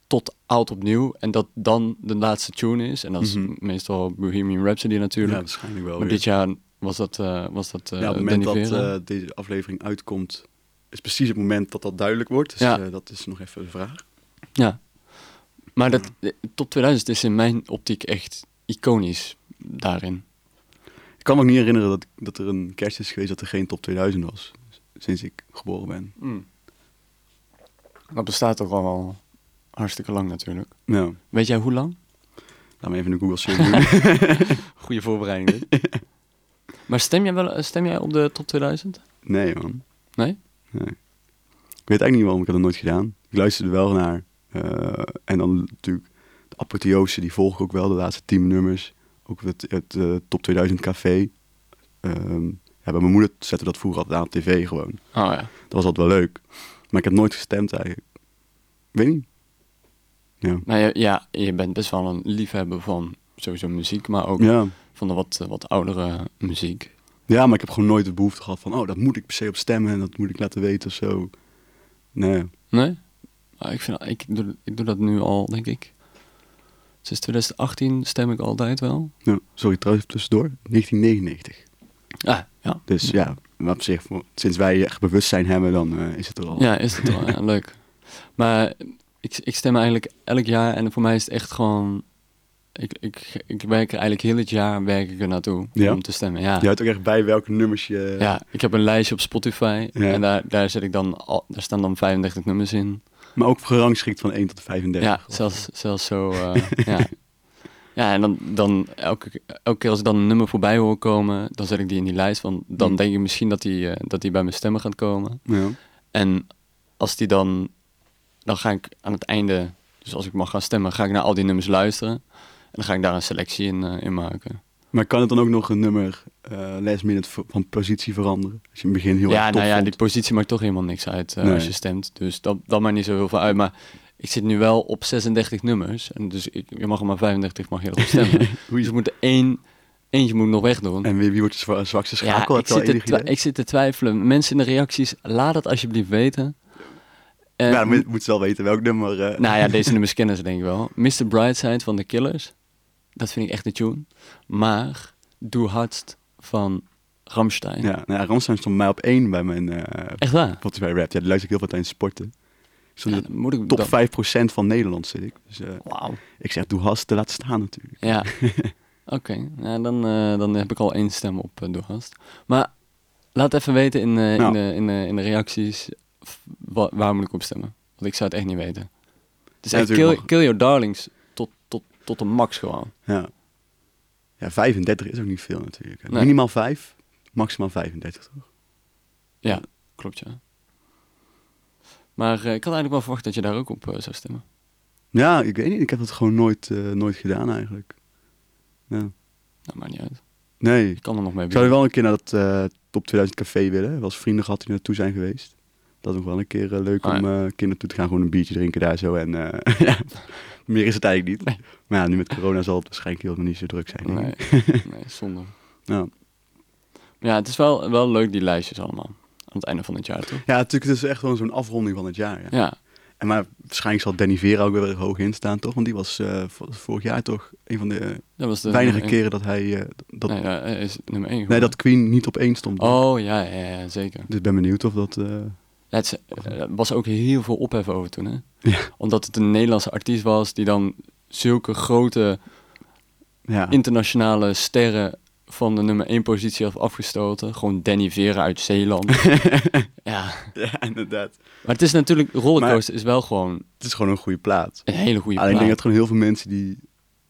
B: tot oud opnieuw. En dat dan de laatste tune is. En dat is
A: Mhm.
B: meestal Bohemian Rhapsody
A: Ja,
B: natuurlijk.
A: waarschijnlijk wel.
B: maar
A: weer.
B: dit jaar was dat, eh was dat eh
A: ja, op het moment dat
B: Danny Vera.
A: eh, deze aflevering uitkomt, is precies het moment dat dat duidelijk wordt. Dus
B: Ja.
A: eh, dat is nog even de vraag.
B: Ja. Maar dat, de top 2000 is in mijn optiek echt iconisch daarin.
A: Ik kan me ook niet herinneren dat, dat er een kerst is geweest dat er geen top 2000 was. Sinds ik geboren ben.
B: Mm. Dat bestaat toch al hartstikke lang natuurlijk.
A: Nou,
B: Weet jij hoe lang?
A: laat me even een Google search doen.
B: Goede voorbereiding dit. maar stem jij, wel, eh, stem jij op de top 2000?
A: Nee, man.
B: Nee?
A: Nee. Ik weet eigenlijk niet waarom ik dat nooit gedaan. Ik luisterde wel naar. eh, en dan natuurlijk de apotheose, die volg ik ook wel, de laatste tien nummers. Ook het, het eh, Top 2000 Café. Ehm, ja, bij mijn moeder zette dat vroeger altijd aan op tv gewoon.
B: Oh ja.
A: Dat was altijd wel leuk. Maar ik heb nooit gestemd eigenlijk. Ik weet niet. Ja.
B: Nou ja, ja, je bent best wel een liefhebber van sowieso muziek, maar ook
A: Ja.
B: van de wat, eh, wat oudere muziek.
A: ja, maar ik heb gewoon nooit de behoefte gehad van... oh, dat moet ik per se op stemmen en dat moet ik laten weten of zo. Nee.
B: Nee? Ah, ik, vind, ik, doe, ik doe dat nu al, denk ik. Sinds 2018 stem ik altijd wel.
A: Ja. Sorry, trouwens tussendoor. 1999.
B: Ah, ja.
A: Dus ja, maar op zich, voor- sinds wij echt bewustzijn hebben, dan eh, is het er al.
B: Ja, is het wel. ja, leuk. Maar ik, ik stem eigenlijk elk jaar en voor mij is het echt gewoon... Ik, ik, ik werk er eigenlijk heel het jaar werk ik er naartoe
A: Ja?
B: om te stemmen. Ja.
A: Je
B: Ja.
A: houdt ook echt bij welke nummers je...
B: ik heb een lijstje op Spotify
A: Ja.
B: en daar, daar, zet ik dan al, daar staan dan 35 nummers in.
A: Maar ook gerangschikt van 1 tot 35.
B: Ja, zelfs, zelfs zo. eh, ja. ja, en dan, dan elke, elke keer als ik dan een nummer voorbij hoor komen, dan zet ik die in die lijst. Want dan
A: Hmm.
B: denk ik misschien dat die, eh, dat die bij mijn stemmen gaat komen.
A: Ja.
B: En als die dan, dan ga ik aan het einde, dus als ik mag gaan stemmen, ga ik naar al die nummers luisteren. En dan ga ik daar een selectie in, eh, in maken.
A: Maar kan het dan ook nog een nummer eh last minute v- van positie veranderen? Als je in het begin heel
B: ja,
A: erg top
B: nou ja,
A: vond.
B: die positie maakt toch helemaal niks uit eh,
A: Nee.
B: als je stemt. Dus dat, dat maakt niet zo heel veel uit. Maar ik zit nu wel op 36 nummers. En dus ik, je mag er maar 35 mag je erop stemmen.
A: Hoe
B: dus
A: je-
B: er moet er één, eentje moet ik nog wegdoen.
A: En wie, wie wordt de zwa- zwakste
B: Ja,
A: schakel?
B: ik
A: Heb je
B: zit,
A: al
B: te
A: enig
B: twi-
A: idee?
B: ik zit te twijfelen. Mensen in de reacties, laat het alsjeblieft weten. Eh,
A: ja, maar je moet wel weten welk nummer... eh,
B: Nou ja, deze nummers kennen ze denk ik wel. Mr. Brightside van The Killers. Dat vind ik echt een tune. Maar Doe Hardst van Ramstein.
A: ja, nou ja, Ramstein stond bij mij op 1 bij mijn eh
B: Echt waar?
A: Spotify rap. Ja, die luister ik heel veel tijdens sporten. Ik stond
B: Ja,
A: in
B: dan moet ik
A: de
B: dan-
A: top 5% van Nederland zit ik. Dus eh,
B: Wauw.
A: ik zeg, doe hast te laten staan natuurlijk.
B: Ja. Oké, nou, dan, eh, dan heb ik al één stem op eh, Doe Hardst. Maar laat even weten in, eh, in,
A: Nou.
B: de, in, de, in de reacties f- wa- waar moet ik op stemmen. Want ik zou het echt niet weten. Het is
A: Ja,
B: echt
A: natuurlijk
B: kill,
A: mag.
B: kill Your Darlings tot, tot, tot de max gewoon.
A: Ja. ja, 35 is ook niet veel natuurlijk. hè.
B: Nee.
A: Minimaal 5, maximaal 35 toch?
B: Ja, klopt ja. Maar eh, ik had eigenlijk wel verwacht dat je daar ook op eh, zou stemmen.
A: Ja, ik weet niet. Ik heb dat gewoon nooit, eh, nooit gedaan eigenlijk. Ja.
B: Nou, maakt niet uit.
A: Nee.
B: Je kan er nog mee
A: Ik zou
B: beginnen.
A: wel een keer naar dat eh, Top 2000 Café willen. Wel eens vrienden gehad die naartoe zijn geweest. Dat is nog wel een keer eh, leuk
B: Ah, ja.
A: om eh een keer naartoe te gaan. Gewoon een biertje drinken daar zo. En eh, ja, meer is het eigenlijk niet.
B: Nee.
A: Maar ja, nu met corona zal het waarschijnlijk helemaal niet zo druk zijn. denk ik.
B: Nee, nee, zonde.
A: Ja.
B: Maar ja, het is wel, wel leuk die lijstjes allemaal. Aan het einde van het jaar, toch?
A: Ja, natuurlijk. Het is echt wel zo'n afronding van het jaar. Ja.
B: Ja,
A: En maar waarschijnlijk zal Danny Vera ook weer er hoog in staan, toch? Want die was eh, v- vorig jaar toch een van de eh,
B: dat was de...
A: weinige
B: nummer één.
A: keren dat hij... eh, dat, nee,
B: Nee, ja, hij is nummer één geworden.
A: dat Queen niet op één stond.
B: Oh, ja, ja, ja zeker.
A: Dus ik ben benieuwd of dat... eh,
B: Ja, het is- er was ook heel veel ophef over toen, hè?
A: Ja.
B: Omdat het een Nederlandse artiest was die dan zulke grote
A: ja.
B: internationale sterren van de nummer 1 positie had afgestoten. Gewoon Danny Vera uit Zeeland. ja,
A: ja, inderdaad.
B: maar het is natuurlijk... Rollercoaster is wel gewoon
A: Het is gewoon een goede plaat.
B: een hele goede
A: Alleen ik denk
B: plaat.
A: dat gewoon heel veel mensen die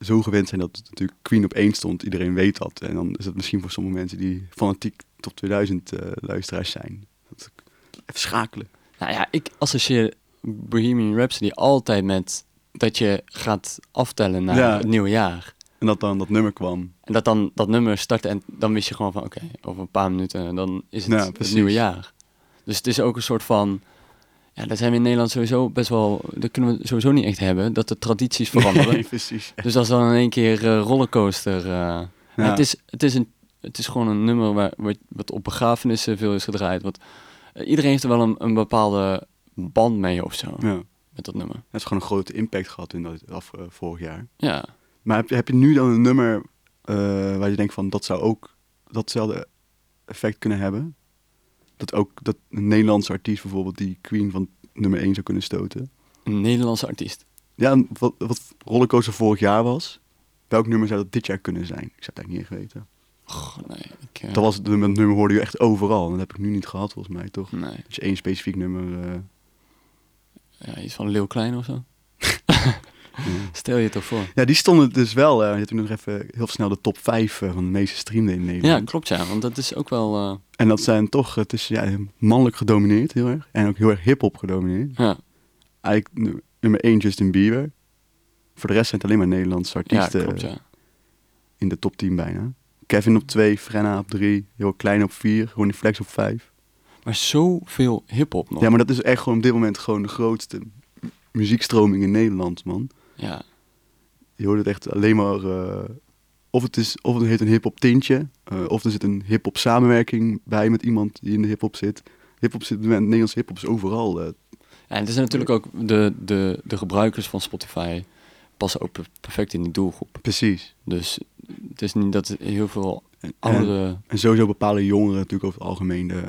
A: zo gewend zijn dat het natuurlijk Queen op één stond. Iedereen weet dat. En dan is het misschien voor sommige mensen die fanatiek top 2000 eh, luisteraars zijn. Dat, even schakelen.
B: Nou ja, ik associeer Bohemian Rhapsody altijd met dat je gaat aftellen naar
A: Ja.
B: het nieuwe jaar.
A: En dat dan dat nummer kwam.
B: En dat dan dat nummer startte en dan wist je gewoon van oké, over een paar minuten eh, dan is het
A: Ja,
B: het
A: precies.
B: nieuwe jaar. Dus het is ook een soort van, ja, daar zijn we in Nederland sowieso best wel, dat kunnen we sowieso niet echt hebben, dat de tradities veranderen.
A: Nee, precies.
B: Dus dat is dan in één keer eh, rollercoaster. eh.
A: Ja.
B: En Het is, het is een, het is gewoon een nummer waar, wat, wat op begrafenissen veel is gedraaid. Wat, eh, iedereen heeft er wel een, een bepaalde band mee of zo,
A: Ja.
B: met dat nummer.
A: Het is gewoon een grote impact gehad in dat, af, eh, vorig jaar.
B: Ja.
A: Maar heb, je- heb je nu dan een nummer eh, waar je denkt van dat zou ook datzelfde effect kunnen hebben? Dat ook dat een Nederlandse artiest bijvoorbeeld die Queen van nummer 1 zou kunnen stoten.
B: Een Nederlandse artiest.
A: Ja, en wat, wat Rollercoaster vorig jaar was, welk nummer zou dat dit jaar kunnen zijn? Ik zou het eigenlijk niet echt weten.
B: Goh, nee, ik... eh,
A: Dat was het nummer, dat nummer hoorde je echt overal. En dat heb ik nu niet gehad volgens mij, toch?
B: Nee,
A: Dat je één specifiek nummer... eh,
B: ja, iets van Leeuw Klein of zo.
A: ja.
B: Stel je toch voor.
A: ja, die stonden dus wel. eh, je hebt toen nog even heel snel de top 5 van de meeste streamden in Nederland.
B: Ja, klopt ja, want dat is ook wel... eh,
A: En dat zijn toch, het is ja, mannelijk gedomineerd heel erg. En ook heel erg hip-hop gedomineerd.
B: ja,
A: Eigenlijk nu- nummer 1 Justin Bieber. Voor de rest zijn het alleen maar Nederlandse
B: ja,
A: artiesten eh.
B: klopt ja.
A: in de top 10 bijna. Kevin op 2, Frenna op 3, heel Klein op 4, Ronnie Flex op 5.
B: Maar zoveel hiphop nog.
A: Ja, maar dat is echt gewoon op dit moment gewoon de grootste mu- muziekstroming in Nederland, man.
B: ja.
A: Je hoort het echt alleen maar. eh, of, het is, of het heeft een hip-hop tintje. eh, of er zit een hip-hop samenwerking bij met iemand die in de hip-hop zit. Hip-hop zit, Nederlandse hip-hop is overal eh,
B: Ja, en het is natuurlijk ook de, de, de gebruikers van Spotify passen ook per- perfect in die doelgroep.
A: Precies.
B: Dus het is niet dat heel veel
A: En, en,
B: oudere.
A: en sowieso bepalen jongeren natuurlijk over het algemeen de,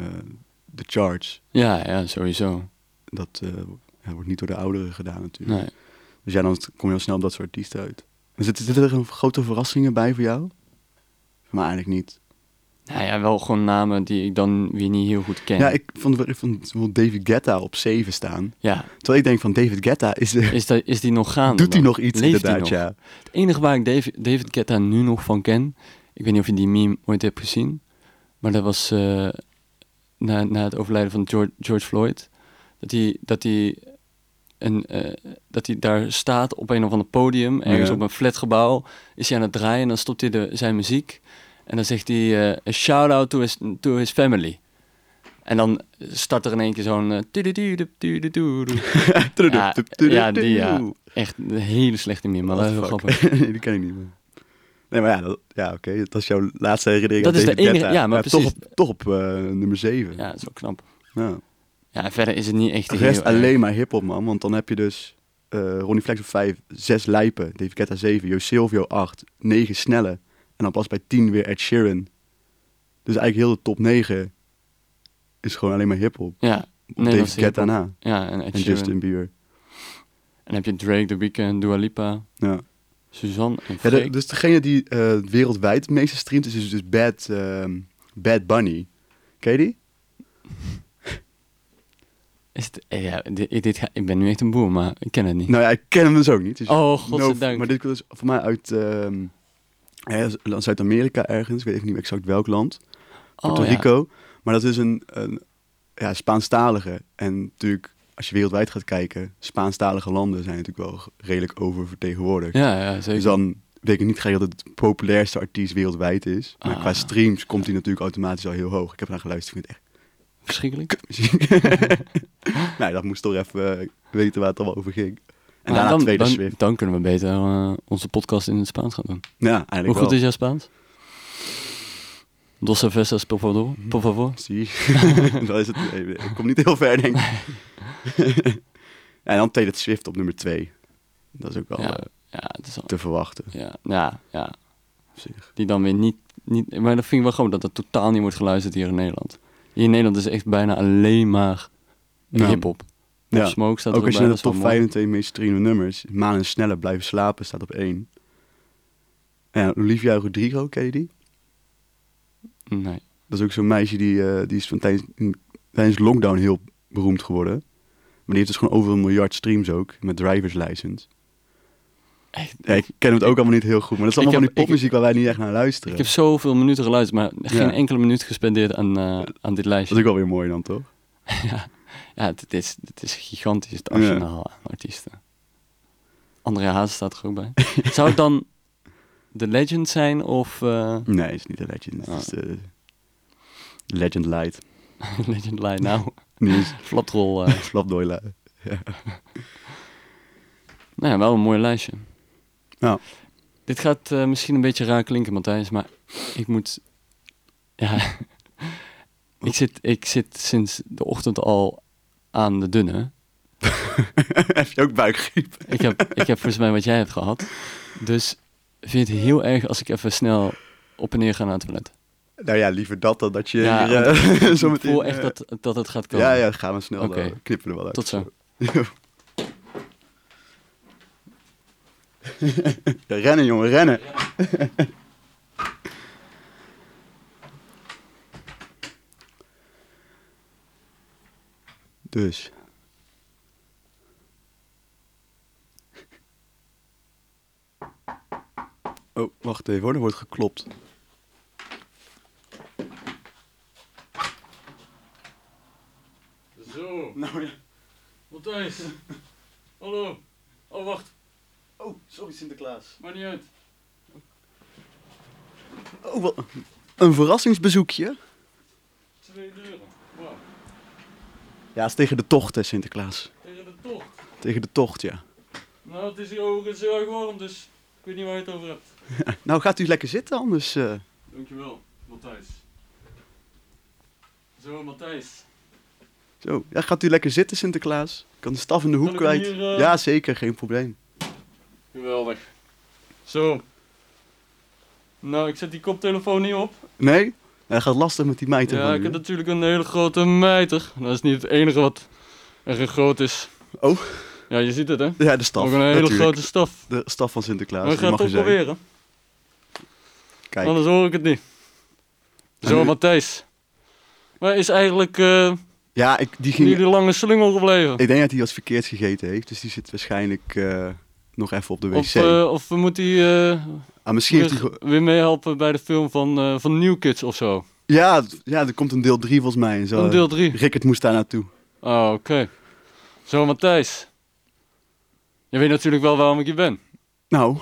A: de charts.
B: Ja, ja, sowieso.
A: Dat eh, ja, wordt niet door de ouderen gedaan natuurlijk.
B: Nee.
A: Dus ja, dan kom je al snel op dat soort artiesten uit. Maar zitten, zitten er een grote verrassingen bij voor jou? Voor mij eigenlijk niet.
B: Nou ja, wel gewoon namen die ik dan weer niet heel goed ken.
A: Ja, ik vond, ik vond bijvoorbeeld David Guetta op 7 staan.
B: Ja,
A: Terwijl ik denk van David Guetta, is de-
B: is, dat, is die nog gaande?
A: doet hij nog iets
B: Leeft hij
A: inderdaad?
B: nog?
A: Ja.
B: Het enige waar ik David, David Guetta nu nog van ken, ik weet niet of je die meme ooit hebt gezien, maar dat was eh, na, na het overlijden van George, George Floyd, dat hij, dat, hij een, eh, dat hij daar staat op een of ander podium, ergens
A: Ja.
B: op een flatgebouw, is hij aan het draaien en dan stopt hij de, zijn muziek en dan zegt hij eh, a shout-out to his, to his family. En dan start er in één keer zo'n... eh, tudududup, tudududu. Ja, ja, die, ja. Echt een hele slechte meme, maar wel heel
A: What the
B: grappig.
A: fuck? nee, die ken ik niet meer. Nee, maar ja, dat- ja oké. Dat is jouw laatste herinnering
B: Dat
A: aan
B: is de
A: David
B: enige-
A: Guetta.
B: ja, maar
A: toch
B: precies.
A: op, toch op eh, nummer 7.
B: Ja, dat is wel knap.
A: Ja.
B: Ja, en verder is het niet echt
A: De
B: heel
A: rest
B: erg.
A: alleen maar hiphop, man. Want dan heb je dus eh Ronnie Flex op 5, 6 Lijpen, David Guetta 7, Jo Silvio 8, 9 Snelle. En dan pas bij 10 weer Ed Sheeran. Dus eigenlijk heel de top 9 is gewoon alleen maar hiphop.
B: Ja,
A: Op David
B: Nederlandse
A: Guetta na. En
B: ja en, Ed Sheeran.
A: Justin Bieber.
B: En dan heb je Drake, The Weeknd, Dua Lipa,
A: Ja.
B: Suzanne en
A: Ja,
B: Freek.
A: de- dus degene die eh, wereldwijd het meeste streamt is dus, dus Bad, ehm, Bad Bunny. Ken je die?
B: Is het, eh, ja, dit, dit ga- ik ben nu echt een boer, maar ik ken het niet.
A: Nou ja, ik ken hem dus ook niet. Dus
B: oh, godzijdank.
A: maar dit komt dus voor mij uit ehm, eh, Zuid-Amerika ergens. Ik weet even niet exact welk land. Puerto
B: oh, ja.
A: Rico. Maar dat is een, een ja, Spaanstalige. En natuurlijk, als je wereldwijd gaat kijken, Spaanstalige landen zijn natuurlijk wel redelijk oververtegenwoordigd.
B: Ja, ja, zeker.
A: dus dan betekent niet gelijk dat het de populairste artiest wereldwijd is. Maar
B: Ah.
A: qua streams komt hij natuurlijk automatisch al heel hoog. Ik heb naar geluisterd, ik vind het echt
B: Verschrikkelijk.
A: muziek. nou, dat moest toch even eh, weten waar het allemaal over ging. En
B: Maar
A: daarna
B: dan,
A: tweede
B: dan,
A: Swift.
B: dan kunnen we beter eh, onze podcast in het Spaans gaan doen.
A: Ja, eigenlijk
B: Hoe goed
A: wel.
B: is jouw Spaans? Dos cervezas, por favor. Por favor.
A: Zie. dat is het. nee, Ik kom niet heel ver, denk ik. en dan Taylor Swift op nummer 2. Dat is ook wel
B: Ja,
A: eh,
B: ja, het is al...
A: te verwachten.
B: Ja, ja, ja.
A: op zich.
B: die dan weer niet, niet... Maar dat vind ik wel grappig, dat dat totaal niet wordt geluisterd hier in Nederland. Hier in Nederland is echt bijna alleen maar
A: Ja.
B: hip-hop. Pop
A: Ja.
B: Smoke staat er
A: Ook als je
B: bij,
A: naar
B: dat
A: de top
B: is wel mooi.
A: 25 meest streamende nummers, Maan en Sneller blijven slapen staat op 1. En Olivia Rodrigo, ken je die?
B: Nee.
A: Dat is ook zo'n meisje die, eh, die is van tijdens, in- tijdens lockdown heel beroemd geworden. Maar die heeft dus gewoon over een miljard streams ook, met drivers license.
B: Echt,
A: Ja, ik ken het ook allemaal niet heel goed, maar dat is
B: Ik
A: allemaal
B: heb-
A: van die popmuziek waar wij niet echt naar luisteren.
B: ik heb zoveel minuten geluisterd, maar geen
A: Ja.
B: enkele minuut gespendeerd aan, eh, aan dit
A: Dat is
B: lijstje.
A: ook wel weer mooi dan, toch?
B: Ja, dit is, dit is gigantisch, het arsenaal aan artiesten. André Haas staat er ook bij. Zou het dan The Legend zijn of eh,
A: Nee, het is niet de Legend. Het is de Legend Light. Ah,
B: Legend Line? Nou,
A: Nieuws.
B: flatrol. eh.
A: Flapdooi Light.
B: Nou ja, wel een mooi lijstje.
A: Ja.
B: Dit gaat eh, misschien een beetje raar klinken, Matthijs, maar ik moet
C: Ja. ik, zit, ik zit sinds de ochtend al aan de dunne.
A: Heb je ook buikgriep?
C: Ik heb, ik heb volgens mij wat jij hebt gehad. Dus vind je het heel erg als ik even snel op en neer ga naar het toilet?
A: Nou ja, liever dat dan dat je
C: Ja,
A: hier,
C: want
A: eh, zo
C: Ik
A: meteen...
C: voel echt
A: eh,
C: dat, dat het gaat komen.
A: Ja, ja, gaan we snel.
C: Oké.
A: dan knippen we er wel uit.
C: Tot zo.
A: Ja, rennen, jongen, rennen. dus. Oh, wacht even hoor, er wordt geklopt.
B: Zo,
A: Nou ja.
B: Matthijs. Hallo. Oh, wacht.
A: Oh, sorry Sinterklaas.
B: Maakt niet uit.
A: Oh, wat. Een verrassingsbezoekje?
B: Twee deuren. Wauw.
A: Ja, is tegen de tocht hè, Sinterklaas.
B: Tegen de tocht.
A: Tegen de tocht, ja.
B: Nou, het is hier overigens heel erg warm, dus ik weet niet waar je het over hebt.
A: Nou, gaat u lekker zitten anders. eh.
B: Dankjewel, Matthijs. Zo, Matthijs.
A: Zo, ja, gaat u lekker zitten, Sinterklaas? Ik kan de staf in de hoek
B: Kan ik
A: kwijt.
B: hier, eh,
A: Ja, zeker, geen probleem.
B: Geweldig. Zo. Nou, ik zet die koptelefoon niet op.
A: Nee? Hij gaat lastig met die meid
B: Ja,
A: van
B: ik
A: u,
B: heb
A: hè?
B: natuurlijk een hele grote mijter. Dat is niet het enige wat erg groot is.
A: Oh.
B: Ja, je ziet het, hè?
A: Ja, de staf.
B: Ook een hele
A: natuurlijk.
B: grote staf.
A: De staf van Sinterklaas.
B: Maar ik
A: die
B: ga het
A: mag
B: toch
A: er zijn.
B: proberen.
A: Kijk.
B: Anders hoor ik het niet.
A: En
B: Zo,
A: nu-
B: Matthijs. Waar is eigenlijk eh
A: Ja, ik, die ging...
B: die lange slungel gebleven?
A: Ik denk dat hij wat verkeerd gegeten heeft, dus die zit waarschijnlijk eh, nog even op de wc.
B: Of, eh, of moet hij eh,
A: ah, misschien heeft hij...
B: weer,
A: gewoon-
B: weer meehelpen bij de film van, eh, van New Kids of zo?
A: Ja, d- ja, er komt een deel 3 volgens mij. en Zo.
B: Van deel 3.
A: Rickert moest daar naartoe.
B: Oh, oké. Zo, Matthijs. Je weet natuurlijk wel waarom ik hier ben.
A: Nou.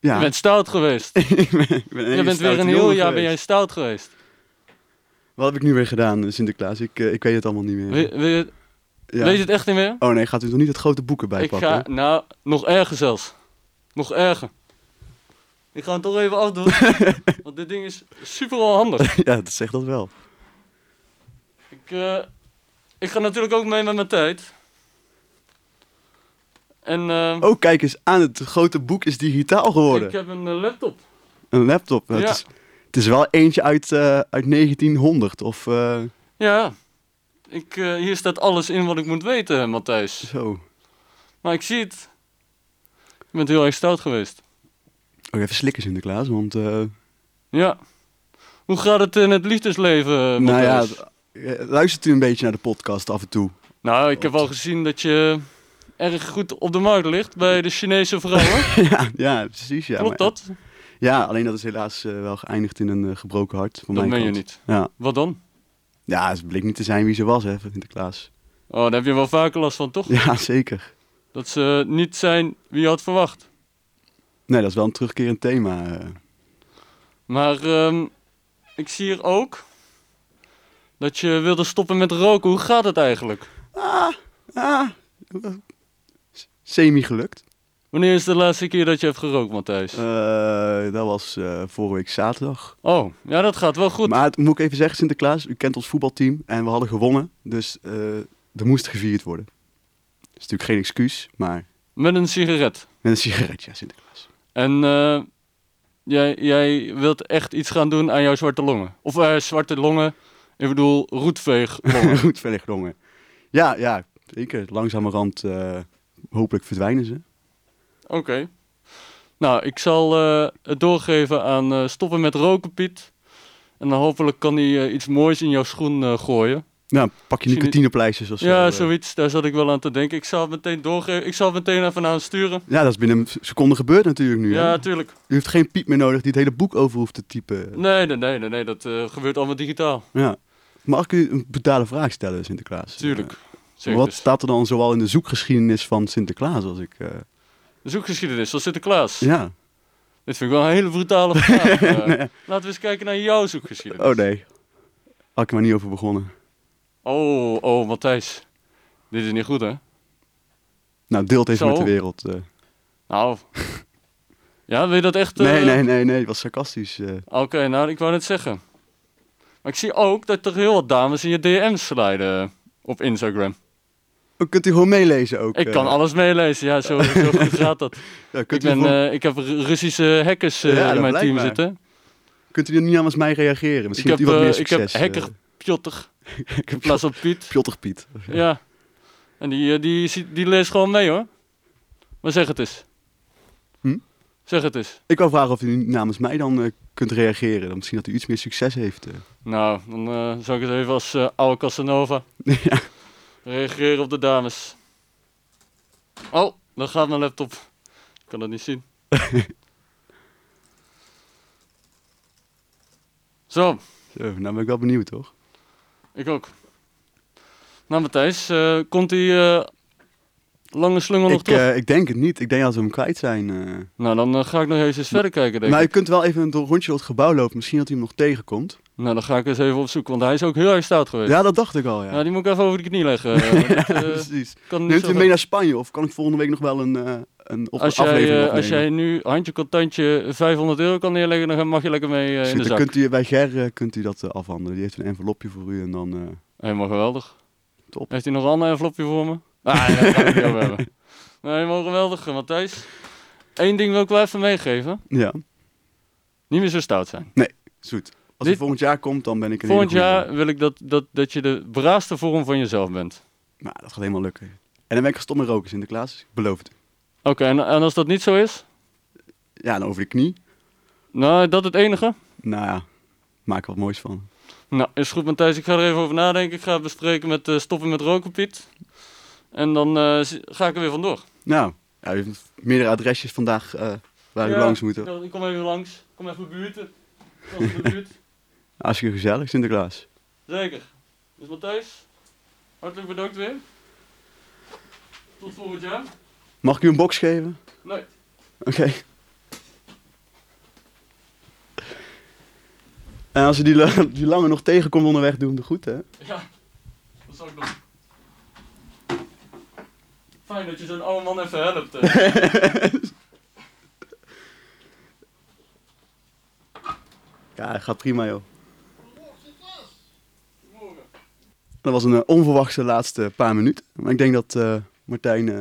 A: Ja.
B: Je bent stout geweest.
A: ik ben, ik ben een hele
B: je bent weer
A: stoute jongen
B: een heel jaar ben
A: geweest.
B: jij stout geweest.
A: Wat heb ik nu weer gedaan, Sinterklaas? Ik, eh, ik weet het allemaal niet meer.
B: Wil- wil je-
A: Ja.
B: Lees je het echt niet meer?
A: Oh nee, gaat u toch niet het grote boek erbij
B: Ik
A: pakken?
B: ga, nou, nog erger zelfs. Nog erger. Ik ga hem toch even afdoen. want dit ding is super onhandig.
A: Ja, dat zegt dat wel.
B: Ik, eh, ik ga natuurlijk ook mee met mijn tijd. En eh,
A: Oh, kijk eens aan, het grote boek is digitaal geworden.
B: ik heb een eh, laptop.
A: Een laptop. Nou,
B: Ja.
A: Het, is, het is wel eentje uit, eh, uit 1900 of eh,
B: Ja. Ik, eh, hier staat alles in wat ik moet weten, Matthijs.
A: zo.
B: Maar ik zie het. Je bent heel erg stout geweest.
A: Oh, even slikken Sinterklaas, want... eh,
B: Ja. Hoe gaat het in het liefdesleven, eh,
A: nou ja,
B: Matthijs?
A: d- eh, luistert u een beetje naar de podcast af en toe?
B: Nou, ik heb al gezien dat je erg goed op de markt ligt bij de Chinese vrouwen.
A: ja, ja, precies. Ja,
B: Klopt
A: maar-
B: dat?
A: Ja, alleen dat is helaas eh, wel geëindigd in een eh, gebroken hart van
B: Dat
A: mijn
B: meen je
A: kant.
B: niet.
A: Ja.
B: Wat dan?
A: ja, het bleek niet te zijn wie ze was, hè, van Sinterklaas.
B: Oh, daar heb je wel vaker last van, toch?
A: Ja, zeker.
B: Dat ze eh, niet zijn wie je had verwacht.
A: Nee, dat is wel een terugkerend thema. eh.
B: Maar ehm, ik zie hier ook dat je wilde stoppen met roken. Hoe gaat het eigenlijk?
A: Ah, eh, semi-gelukt.
B: Wanneer is de laatste keer dat je hebt gerookt, Matthijs?
A: Eh, dat was eh, vorige week zaterdag.
B: Oh, ja, dat gaat wel goed.
A: Maar het moet ik even zeggen, Sinterklaas, u kent ons voetbalteam en we hadden gewonnen. Dus eh, er moest gevierd worden. Dat is natuurlijk geen excuus, maar
B: Met een sigaret.
A: met een sigaretje, ja, Sinterklaas.
B: En eh, jij, jij wilt echt iets gaan doen aan jouw zwarte longen. Of eh, zwarte longen, ik bedoel roetveeglongen.
A: Goed verder gedrongen. Ja, ja, zeker. Langzamerhand eh, hopelijk verdwijnen ze.
B: Oké. Nou, ik zal eh, het doorgeven aan eh, stoppen met roken, Piet. En dan hopelijk kan hij eh, iets moois in jouw schoen eh, gooien.
A: Nou, pak je
B: Zie je-
A: nicotinepleisters of zo.
B: ja,
A: eh.
B: zoiets. Daar zat ik wel aan te denken. Ik zal het meteen doorgeven. Ik zal het meteen even aan hem sturen.
A: Ja, dat is binnen een seconde gebeurd natuurlijk nu. hè?
B: Ja, tuurlijk.
A: U heeft geen piep meer nodig die het hele boek over hoeft te typen.
B: Nee, nee, nee, nee, nee. Dat eh, gebeurt allemaal digitaal.
A: Ja. Mag ik u een brutale vraag stellen, Sinterklaas?
B: Tuurlijk.
A: Eh,
B: Zeker. dus.
A: wat staat er dan zoal in de zoekgeschiedenis van Sinterklaas? Als ik, eh,
B: Zoekgeschiedenis, zoals Sinterklaas.
A: Ja.
B: Dit vind ik wel een hele brutale vraag. eh. Laten we eens kijken naar jouw zoekgeschiedenis.
A: Oh nee. Had ik er maar niet over begonnen.
B: Oh, oh, Matthijs. Dit is niet goed, hè?
A: Nou, deelt even
B: Zo.
A: met de wereld. eh.
B: Nou. ja, wil je dat echt... eh,
A: Nee, nee, nee, nee. Het was sarcastisch. eh.
B: Oké, nou, ik wou net zeggen. Maar ik zie ook dat er heel wat dames in je DM sliden op Instagram.
A: Oh, kunt u gewoon meelezen ook?
B: Ik kan
A: eh?
B: alles meelezen, ja, zo, zo goed gaat dat.
A: Ja,
B: Ik,
A: kunt, u
B: ben,
A: voor-
B: eh, ik heb Ru- Russische hackers eh,
A: Ja, dat
B: in mijn team
A: blijkbaar.
B: zitten.
A: kunt u er niet aan als mij reageren? Misschien
B: ik
A: heeft
B: heb,
A: u wat
B: eh,
A: meer
B: ik heb
A: succes.
B: hacker
A: eh.
B: Pjotter
A: ik
B: in
A: heb
B: plaats van Piet.
A: Pjotter Piet.
B: Ja. En die, eh, die, zie- die leest gewoon mee hoor. Maar zeg het eens.
A: Hm?
B: Zeg het eens.
A: Ik wou vragen of u niet namens mij dan eh, kunt reageren. Dan misschien dat u iets meer succes heeft. eh.
B: Nou, dan eh zal ik het even als eh, oude Casanova.
A: eh. ja.
B: Reageren op de dames. Oh, dan gaat mijn laptop. Ik kan dat niet zien. Zo,
A: Zo, nou ben ik wel benieuwd, toch?
B: ik ook. Nou Matthijs, eh, komt die eh, lange slungel nog
A: Ik,
B: terug?
A: eh, ik denk het niet. Ik denk dat we hem kwijt zijn. eh.
B: Nou, dan eh, ga ik nog even eens verder kijken denk
A: Maar
B: ik.
A: je kunt wel even een rondje door het gebouw lopen. Misschien dat u hem nog tegenkomt.
B: Nou, dan ga ik eens even op zoek, want hij is ook heel erg stout geweest.
A: Ja, dat dacht ik al, ja.
B: Ja, die moet ik even over de knie leggen. eh, want dat, eh,
A: Precies.
B: kan niet
A: Neemt
B: zo
A: u
B: goed.
A: mee naar Spanje? Of kan ik volgende week nog wel een, eh, een op
B: Als jij,
A: aflevering
B: eh, als
A: opnemen?
B: jij nu handje contantje 500 euro kan neerleggen, dan mag je lekker mee eh, in
A: Zit,
B: de
A: dan
B: zak.
A: kunt u, bij Ger eh, kunt u dat eh, afhandelen. Die heeft een envelopje voor u en dan... eh,
B: Helemaal geweldig.
A: Top.
B: Heeft hij nog een ander envelopje voor me? Ah, ja, daar ga ik niet over hebben. Nee, helemaal geweldig, eh, Matthijs. Eén ding wil ik wel even meegeven.
A: ja,
B: Niet meer zo stout zijn.
A: zoet. Als
B: Dit-
A: u volgend jaar komt, dan ben ik een hele
B: Volgend
A: goeie.
B: jaar wil ik dat, dat, dat je de braafste vorm van jezelf bent.
A: Nou, dat gaat helemaal lukken. En dan ben ik gestopt met roken, Sinterklaas. Dus Ik Beloof het. u.
B: Oké, en, en als dat niet zo is?
A: Ja, en over de knie.
B: Nou, dat het enige?
A: Nou ja, maak er wat moois van.
B: Nou, is goed Matthijs. Ik ga er even over nadenken. Ik ga het bespreken met eh, stoppen met roken, Piet. En dan eh, z- ga ik er weer vandoor.
A: Nou, ja, u heeft meerdere adresjes vandaag eh, waar u
B: Ja,
A: langs moet.
B: Ik kom even langs. Kom even buurten. Kom even buurt.
A: Hartstikke gezellig, Sinterklaas.
B: Zeker. Dus Matthijs, hartelijk bedankt weer. Tot volgend jaar. Nou,
A: Mag ik u een box geven?
B: Nee.
A: Oké. En als u die, la- die lange nog tegenkomt onderweg, doe hem de groeten. hè?
B: Ja, dat zal ik doen. Fijn dat je zo'n oude man even helpt. eh.
A: Ja, dat gaat prima, joh.
B: Goedemorgen.
A: Dat was een eh, onverwachte laatste paar minuten. Maar ik denk dat eh, Martijn eh,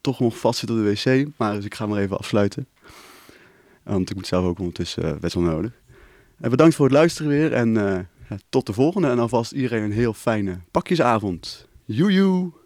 A: toch nog vast zit op de wc. Maar dus ik ga maar even afsluiten. Want ik moet zelf ook ondertussen eh, best wel nodig. En bedankt voor het luisteren weer. En eh, ja, tot de volgende. En alvast iedereen een heel fijne pakjesavond. Joejoe!